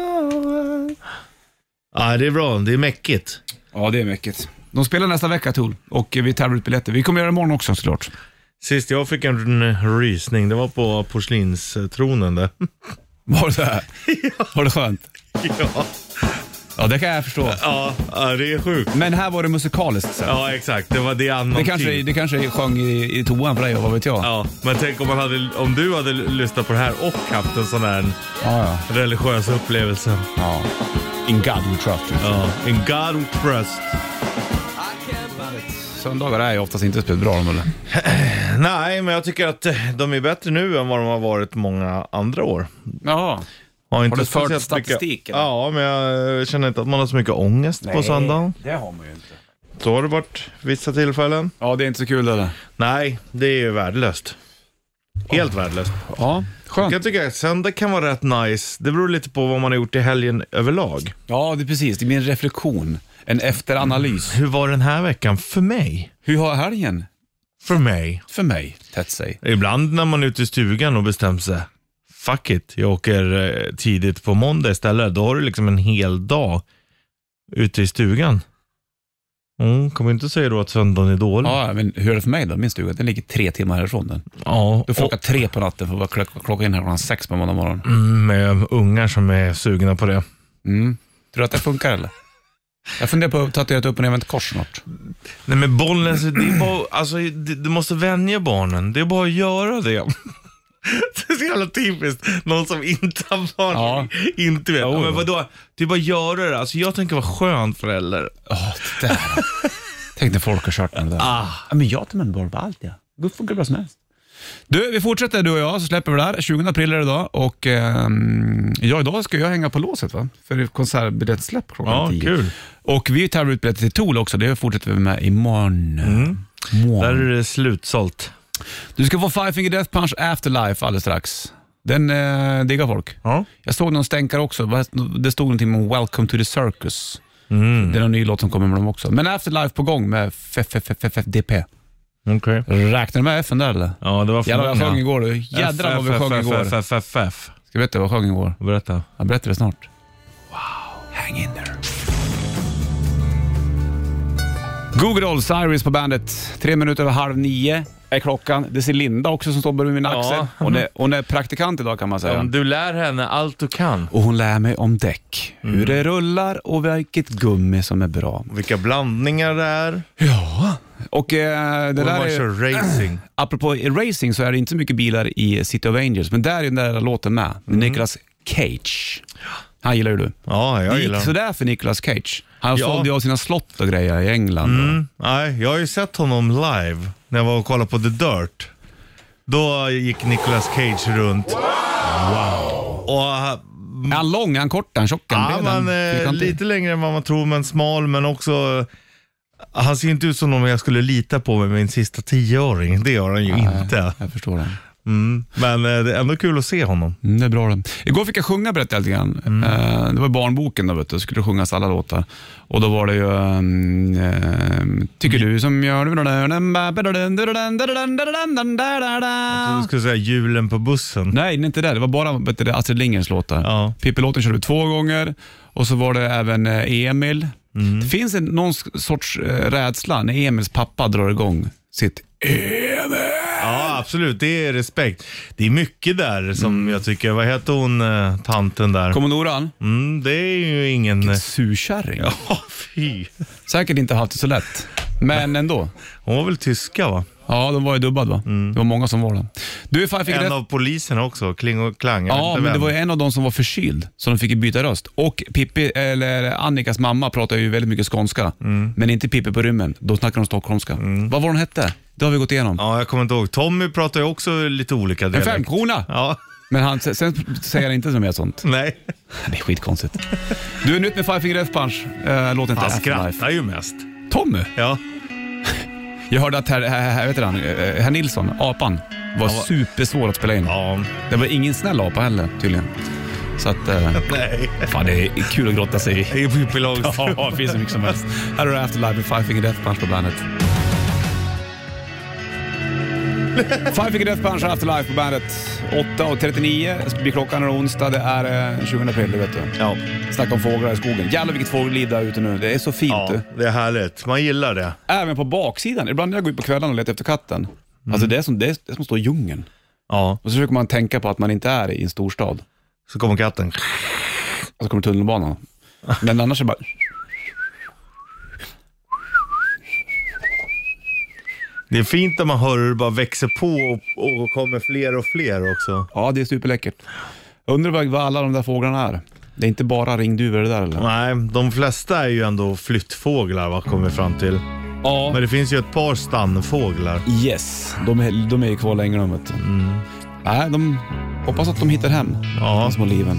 Speaker 3: Ja, det är bra. Det är mäckigt.
Speaker 2: Ja, det är mycket. De spelar nästa vecka, Tool, och vi tävlar ut biljetter. Vi kommer göra det imorgon också såklart.
Speaker 3: Sist jag fick en rysning, det var på porslinstronen där.
Speaker 2: Var det så här? Var det skönt?
Speaker 3: ja.
Speaker 2: Ja, det kan jag förstå.
Speaker 3: Ja, ja, det är sjukt.
Speaker 2: Men här var det musikaliskt. Så.
Speaker 3: Ja, exakt. Det var det annan
Speaker 2: Det kanske,
Speaker 3: tid.
Speaker 2: det kanske sjöng i, i toan för dig, vad vet jag?
Speaker 3: Ja, men tänk om, man hade, om du hade lyssnat på det här och haft en sån här
Speaker 2: ja.
Speaker 3: religiös upplevelse.
Speaker 2: ja. In God we trust.
Speaker 3: Ja, in God we trust.
Speaker 2: Söndagar är ju oftast inte speciellt bra de eller?
Speaker 3: Nej, men jag tycker att eh, de är bättre nu än vad de har varit många andra år.
Speaker 2: Ja.
Speaker 3: Har, inte
Speaker 2: du fört
Speaker 3: speciellt
Speaker 2: statistik,
Speaker 3: Mycket...
Speaker 2: eller?
Speaker 3: Ja, men jag eh, känner inte att man har så mycket ångest på söndagen.
Speaker 2: Eh, det har man ju inte.
Speaker 3: Så har det varit vissa tillfällen.
Speaker 2: Ja, det är inte så kul eller?
Speaker 3: Nej, det är ju värdelöst. Helt värdelöst.
Speaker 2: Ja, skönt.
Speaker 3: Jag tycker att söndag kan vara rätt nice. Det beror lite på vad man har gjort i helgen överlag.
Speaker 2: Ja, det är precis. Det blir en reflektion, en efteranalys.
Speaker 3: Hur var den här veckan för mig?
Speaker 2: Hur har helgen
Speaker 3: För mig.
Speaker 2: för mig tätt sig?
Speaker 3: Ibland när man är ute i stugan och bestämt sig, fuck it, jag åker eh, tidigt på måndag istället. Då har du liksom en hel dag ute i stugan. Mm, kommer inte säga då att söndagen är dålig.
Speaker 2: Ja, men hur är det för mig då? Min stuga, den ligger tre timmar härifrån den.
Speaker 3: Ja,
Speaker 2: Du får
Speaker 3: och
Speaker 2: åka tre på natten för att vara klock- klocka in här klockan sex på måndag morgon.
Speaker 3: med ungar som är sugna på det.
Speaker 2: Mm. Tror du att det funkar eller? Jag funderar på att tatuera ett upp och nervänt kors snart.
Speaker 3: Nej men bollen, så det är bara, alltså, det, du måste vänja barnen. Det är bara att göra det. Det är så jävla typiskt. Någon som inte har barn
Speaker 2: Ja.
Speaker 3: inte vet.
Speaker 2: Jo,
Speaker 3: Ja, men
Speaker 2: jo.
Speaker 3: vadå? Det är bara att göra det. Alltså, jag tänker vara skön förälder.
Speaker 2: Ja, det där. Tänk när folk har kört med det där. Ah. Men jag tar med en boll på allt, ja. Det funkar bra som helst. Du, vi fortsätter du och jag, så släpper vi det här. 20 april är det idag och ehm, ja, idag ska jag hänga på låset va? för konsertbiljettsläpp klockan
Speaker 3: Ja,
Speaker 2: 10.
Speaker 3: kul.
Speaker 2: Och vi tävlar ut biljetter till Tool också, det fortsätter vi med imorgon. Imorgon.
Speaker 3: Mm. Där är det slutsålt.
Speaker 2: Du ska få Five Finger Death Punch Afterlife alldeles strax. Den eh, diggar folk.
Speaker 3: Ja.
Speaker 2: Jag såg någon stänkare också. Vad- Det stod någonting om Welcome to the Circus. Det är någon ny låt som kommer med dem också. Men Afterlife på gång med FFFFDP.
Speaker 3: Okej.
Speaker 2: Räknar du med F där eller?
Speaker 3: Ja, det var för
Speaker 2: Jävlar vad jag
Speaker 3: många.
Speaker 2: sjöng igår du. Jädrar vad vi sjöng igår. Ska
Speaker 3: FFFFF.
Speaker 2: du veta vad jag sjöng igår?
Speaker 3: Berätta.
Speaker 2: Jag berättar det snart. Wow. Hang in there. Google Dolls, Iris på bandet. Tre minuter över halv nio är klockan. Det ser Linda också som står bredvid min
Speaker 3: Ja.
Speaker 2: axel. Hon, är, hon är praktikant idag kan man säga.
Speaker 3: Du lär henne allt du kan.
Speaker 2: Och hon lär mig om däck.
Speaker 3: Mm.
Speaker 2: Hur det rullar och vilket gummi som är bra.
Speaker 3: Vilka blandningar det är.
Speaker 2: Ja. Och eh, det
Speaker 3: Hur
Speaker 2: där
Speaker 3: man
Speaker 2: är...
Speaker 3: kör racing.
Speaker 2: Apropå racing så är det inte så mycket bilar i City of Angels, men där är den där låten med.
Speaker 3: Mm.
Speaker 2: Nicolas Cage. Han gillar ju du.
Speaker 3: Ja, jag
Speaker 2: det
Speaker 3: gillar
Speaker 2: gick
Speaker 3: den.
Speaker 2: sådär för Nicolas Cage. Han
Speaker 3: Ja.
Speaker 2: sålde ju av sina slott och grejer i England.
Speaker 3: Mm. Nej, jag har ju sett honom live när jag var och kollade på The Dirt. Då gick Nicolas Cage runt. Wow. Och
Speaker 2: Är han lång? Är han kort? Är han tjock? Är
Speaker 3: Ja,
Speaker 2: han bred? Är han
Speaker 3: man, eh,
Speaker 2: fyrkantig?
Speaker 3: lite längre än vad man tror, men smal, men också... eh, Han ser inte ut som någon jag skulle lita på med min sista tioåring. Det gör han ju inte.
Speaker 2: Jag förstår det.
Speaker 3: Mm. Men eh, det är ändå kul att se honom.
Speaker 2: Mm, Det är bra det. Igår fick jag sjunga berättade jag lite grann. Eh, Det var barnboken då, vet du. skulle sjungas alla låtar. Och då var det ju... ehm, ehm, Tycker du som gör...
Speaker 3: Du skulle säga julen på bussen.
Speaker 2: Nej, det är inte det. Det var bara vet du, Astrid Lindgrens låtar.
Speaker 3: Ja.
Speaker 2: Pippi-låten körde vi två gånger och så var det även eh, Emil. Det finns en, någon sorts eh, rädsla när Emils pappa drar igång sitt Emil.
Speaker 3: Ja, absolut. Det är respekt. Det är mycket där som
Speaker 2: Mm.
Speaker 3: jag tycker, vad heter hon, eh, tanten där?
Speaker 2: Kommodoran,
Speaker 3: Mm, det är ju ingen...
Speaker 2: surkärring.
Speaker 3: Ja, fy.
Speaker 2: Säkert inte haft det så lätt, men ändå.
Speaker 3: Hon var väl tyska va?
Speaker 2: Ja, de var ju dubbad va? Det var många som var det. Du, fan, jag fick
Speaker 3: Mm. En
Speaker 2: rätt.
Speaker 3: av poliserna också, Kling och Klang. jag vet
Speaker 2: Ja,
Speaker 3: inte
Speaker 2: men det
Speaker 3: vem.
Speaker 2: var ju en av de som var förkyld, så de fick ju byta röst. Och Pippi, eller Annikas mamma pratar ju väldigt mycket skånska,
Speaker 3: Mm.
Speaker 2: men inte Pippi på rymmen. Då snackar de stockholmska. Vad var hon hette? Det har vi gått igenom.
Speaker 3: Ja, jag kommer inte ihåg. Tommy pratar ju också lite olika
Speaker 2: En
Speaker 3: dialekter.
Speaker 2: femkrona!
Speaker 3: Ja,
Speaker 2: Men han, sen- sen säger han inte så mer sånt.
Speaker 3: nej.
Speaker 2: Det är skitkonstigt. Du, är nytt med Five Finger Death Punch. Eh, låten heter
Speaker 3: Han
Speaker 2: Afterlife.
Speaker 3: skrattar ju mest.
Speaker 2: Tommy!
Speaker 3: Ja.
Speaker 2: Jag hörde att herr, herr, herr, vet du han, eh, herr Nilsson, apan, var supersvår att spela in.
Speaker 3: Ja.
Speaker 2: Det var ingen snäll apa heller tydligen. Så att... Eh,
Speaker 3: Nej.
Speaker 2: fan, det är kul att grotta sig i.
Speaker 3: Det är Pippi Långstrump.
Speaker 2: Ja, det finns hur mycket som helst. Här har du Afterlife med Five Finger Death Punch på bandet. Five Finger Death Punch och Afterlife på bandet. 8.39 blir klockan, och det är onsdag. Det är eh, 20 april, det vet du.
Speaker 3: Ja.
Speaker 2: Snacka om fåglar i skogen. Jävlar vilket fågelliv det är ute nu. Det är så fint du.
Speaker 3: ja, det är härligt. Man gillar det.
Speaker 2: Även på baksidan. Ibland när jag går ut på kvällen och letar efter katten. Alltså det är, som, det, är, det är som att stå i djungeln.
Speaker 3: Ja.
Speaker 2: Och så försöker man tänka på att man inte är i en storstad.
Speaker 3: Så kommer katten.
Speaker 2: Och så kommer tunnelbanan. Men annars är det bara...
Speaker 3: Det är fint när man hör hur det bara växer på och, och kommer fler och fler också.
Speaker 2: Ja, det är superläckert. Jag undrar vad- vad alla de där fåglarna är. Det är inte bara ringduvor det där eller?
Speaker 3: Nej, de flesta är ju ändå flyttfåglar vad kommer vi fram till.
Speaker 2: Ja.
Speaker 3: Men det finns ju ett par stannfåglar.
Speaker 2: Yes, de är, de är ju kvar länge de vet du. Nej, de hoppas att de hittar hem,
Speaker 3: Mm. Ja.
Speaker 2: de små liven.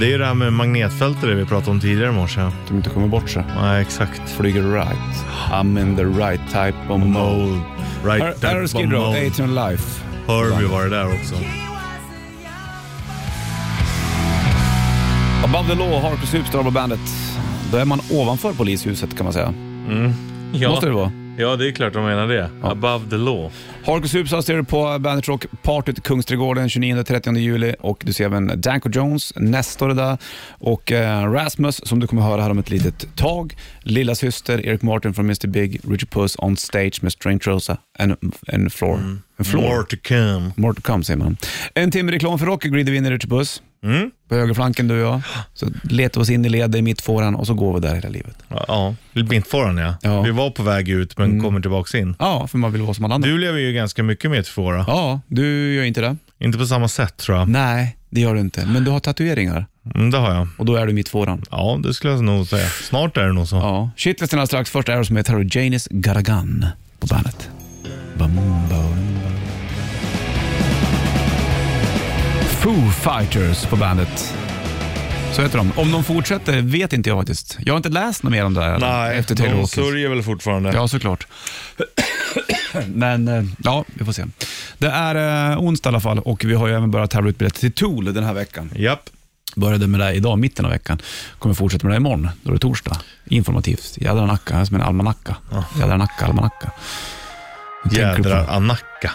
Speaker 3: Det är ju det här med magnetfältet det vi pratade om tidigare i morse.
Speaker 2: De inte kommer bort sig.
Speaker 3: Nej, exakt.
Speaker 2: Flyger right. I'm in the right type of mode.
Speaker 3: Mode. Right
Speaker 2: Här- Här har du
Speaker 3: that
Speaker 2: Skid Row,
Speaker 3: mode.
Speaker 2: Atrium Life.
Speaker 3: Herbie var det där också.
Speaker 2: Above the Law, Harkus Superstar på bandet. Då är man ovanför polishuset kan man säga. Måste det vara.
Speaker 3: Ja, det är klart de menar det. Above the law.
Speaker 2: Harkus Superstar ser du på Bandit Rock Partyt i Kungsträdgården 29-30 juli och du ser även Danko Jones, Nestor är där och eh, Rasmus som du kommer höra här om ett litet tag. Lilla syster, Eric Martin från Mr Big, Richard Puss on stage med Strange Rosa and, and Floor. And floor.
Speaker 3: Mm. More to come.
Speaker 2: More to come säger man. En timme reklam för Rocky Grid vinner Richard Puss.
Speaker 3: Mm.
Speaker 2: På högerflanken du och jag. Så letar vi oss in i ledet i mittfåran och så går vi där hela livet.
Speaker 3: Ja, mittfåran ja.
Speaker 2: Ja. Mm.
Speaker 3: Vi var på väg ut men kommer tillbaka in.
Speaker 2: Ja, för man vill vara som alla andra.
Speaker 3: Du lever ju ganska mycket med mittfåra.
Speaker 2: Ja, Mm. du gör inte det.
Speaker 3: Inte på samma sätt tror jag.
Speaker 2: Nej, det gör du inte. Men du har tatueringar
Speaker 3: Mm, det har jag.
Speaker 2: och då är du mittfåran.
Speaker 3: Ja, det skulle jag nog säga. Snart är det nog så.
Speaker 2: Ja. Shitlisten alldeles strax. Först Aerosmith. Här har du Janis Garagan på bandet. Bam, bam. Foo Fighters på bandet. Så heter de. Om de fortsätter vet inte jag faktiskt. Jag har inte läst något mer om det här
Speaker 3: Nej,
Speaker 2: efter Taylor
Speaker 3: de
Speaker 2: Hawkins.
Speaker 3: sörjer väl fortfarande.
Speaker 2: Ja, såklart. Men eh, ja, vi får se. Det är eh, onsdag i alla fall och vi har ju även börjat tävla ut biljetter till Tool den här veckan.
Speaker 3: Japp.
Speaker 2: Började med det idag, mitten av veckan. Kommer fortsätta med det imorgon, då är det torsdag. Informativt. Jädra nacka, här är som en almanacka. Jädra nacka, almanacka. Hur tänker du på Mm.
Speaker 3: Jädrar
Speaker 2: det?
Speaker 3: anacka.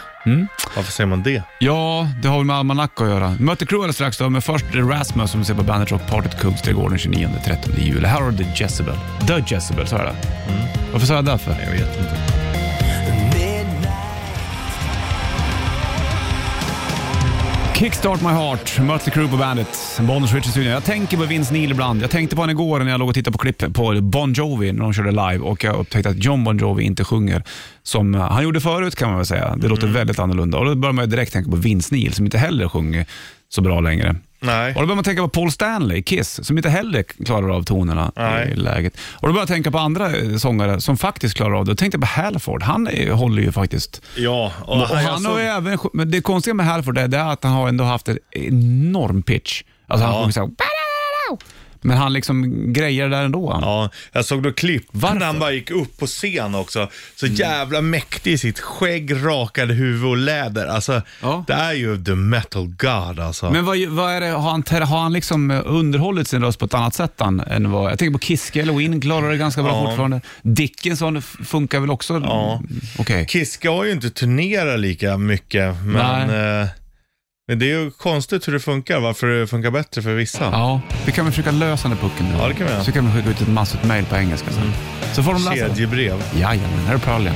Speaker 3: Varför säger man det?
Speaker 2: Ja, det har väl med almanacka att göra. Möter Crew alldeles strax då, men först är det Rasmus som ser på Bandit Rock Partyt Kungsträdgården 29-30 juli. Här har du The Jezebel. The Jezebel, sa jag det? Varför sa jag det för?
Speaker 3: Jag vet inte.
Speaker 2: Kickstart My Heart, Mötley Crüe på bandet, Bonus Richard Studio. Jag tänker på Vince Neil ibland. Jag tänkte på honom igår när jag låg och tittade på klipp på Bon Jovi när de körde live och jag upptäckte att John Bon Jovi inte sjunger som eh, han gjorde förut kan man väl säga. Det
Speaker 3: Mm.
Speaker 2: låter väldigt annorlunda och då börjar man ju direkt tänka på Vince Neil som inte heller sjunger så bra längre.
Speaker 3: Nej.
Speaker 2: Och då börjar man tänka på Paul Stanley, Kiss, som inte heller klarar av tonerna
Speaker 3: Nej.
Speaker 2: i läget. Och då börjar jag tänka på andra eh, sångare som faktiskt klarar av det. Då tänkte jag på Halford. Han eh, håller ju faktiskt
Speaker 3: Ja, och,
Speaker 2: och
Speaker 3: jag
Speaker 2: han
Speaker 3: såg-
Speaker 2: har ju även, men det konstiga med Halford är det är att han har ändå haft en enorm pitch. Alltså han
Speaker 3: Ja.
Speaker 2: sjunger såhär... Men han liksom grejer det där ändå. Han.
Speaker 3: Ja, jag såg då klipp
Speaker 2: Varför? Mm.
Speaker 3: när han bara gick upp på scen också. Så jävla mäktig i sitt skägg, rakade huvud och läder. Alltså,
Speaker 2: Ja.
Speaker 3: det är ju the metal god alltså.
Speaker 2: Men vad, vad är det, har han, ter- har han liksom eh, underhållit sin röst på ett annat sätt än, än vad... Jag tänker på Kiske eller Win klarar det ganska bra
Speaker 3: Ja.
Speaker 2: fortfarande. Dickinson f- funkar väl också?
Speaker 3: Ja.
Speaker 2: Mm, Okej.
Speaker 3: Kiske har ju inte turnerat lika mycket, men, eh, men det är ju konstigt hur det funkar, varför det funkar bättre för vissa.
Speaker 2: Ja, vi kan väl försöka lösa den här pucken nu.
Speaker 3: Ja, det kan vi göra. Mm.
Speaker 2: Så kan vi skicka ut ett massigt mejl på engelska sen. Så får de läsa det.
Speaker 3: Kedjebrev.
Speaker 2: Jajamän, här är Pearl Jam.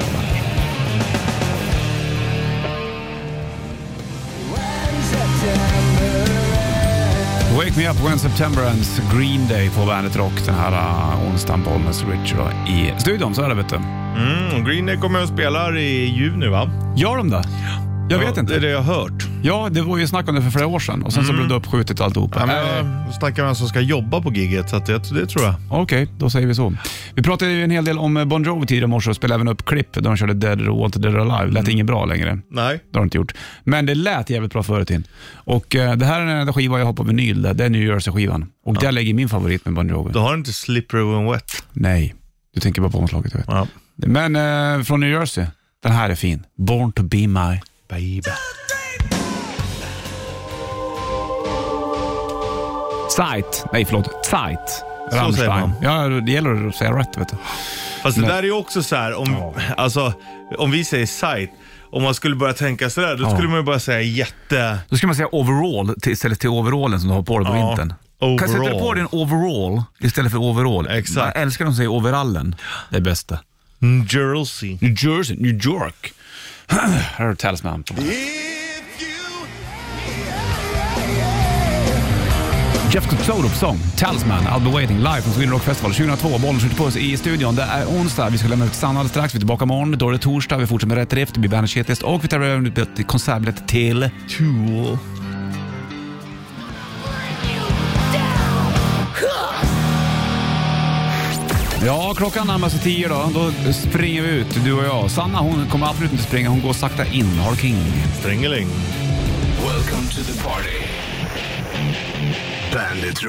Speaker 2: Wake Me Up When September Ends, Green Day på Bandet Rock den här uh, onsdagen, Bollnäs Richard i studion. Så är det vet du.
Speaker 3: Mm, Green Day kommer och spelar i juni va?
Speaker 2: Gör de det? Jag vet
Speaker 3: Ja,
Speaker 2: inte.
Speaker 3: Det är det jag har hört.
Speaker 2: Ja, det var ju snack om det för flera år sedan och sen så blev det uppskjutet alltihopa.
Speaker 3: Ja, men
Speaker 2: Eh,
Speaker 3: jag snackar med en som ska jobba på giget, så att det, det tror jag.
Speaker 2: Okej, då säger vi så. Vi pratade ju en hel del om eh, Bon Jovi tidigare i morse och spelade även upp klipp där de körde Dead or Wanted Dead or Alive.
Speaker 3: Mm.
Speaker 2: Lät inget bra längre.
Speaker 3: Nej.
Speaker 2: Det har de inte gjort. Men det lät jävligt bra förut in. Och eh, det här är den enda skiva jag har på vinyl, där. det är New Jersey-skivan. Och där ligger min favorit med Bon Jovi.
Speaker 3: Då har du inte Slippery When Wet.
Speaker 2: Nej, du tänker bara på omslaget jag vet.
Speaker 3: Ja.
Speaker 2: Men eh, från New Jersey, den här är fin. Born to be my baby. Zeit, nej förlåt, Zeit. Rammstein.
Speaker 3: säger man.
Speaker 2: Ja, det gäller att säga rätt vet du.
Speaker 3: Fast det där är ju också så här, om, alltså, om vi säger sajt, om man skulle börja tänka sådär, då skulle man ju bara säga jätte...
Speaker 2: Då ska man säga overall till, istället till overallen som du har på dig på
Speaker 3: Ja,
Speaker 2: vintern.
Speaker 3: overall.
Speaker 2: Kan sätta på dig en overall istället för overall.
Speaker 3: Exakt.
Speaker 2: Jag älskar de som säger overallen. Det är bästa.
Speaker 3: Jersey.
Speaker 2: New Jersey, New York. Här har du Talisman. Jeff Coxodo på sång, Talisman, I'll be waiting, live från Sweden Rock Festival 2002. Bollen skjuter på oss i studion. Det är onsdag, vi ska lämna ut Sanna alldeles strax. Vi är tillbaka imorgon, då är det torsdag. Vi fortsätter med Rätt Drift, det blir Bandet Shitlist och vi tar över till konsertbiljett till Tool. Ja, klockan närmar sig tio då. Då springer vi ut, du och jag. Sanna hon kommer absolut inte springa, hon går sakta in. Har King.
Speaker 3: Strängeling.
Speaker 1: Welcome to the party. Bandit Rock.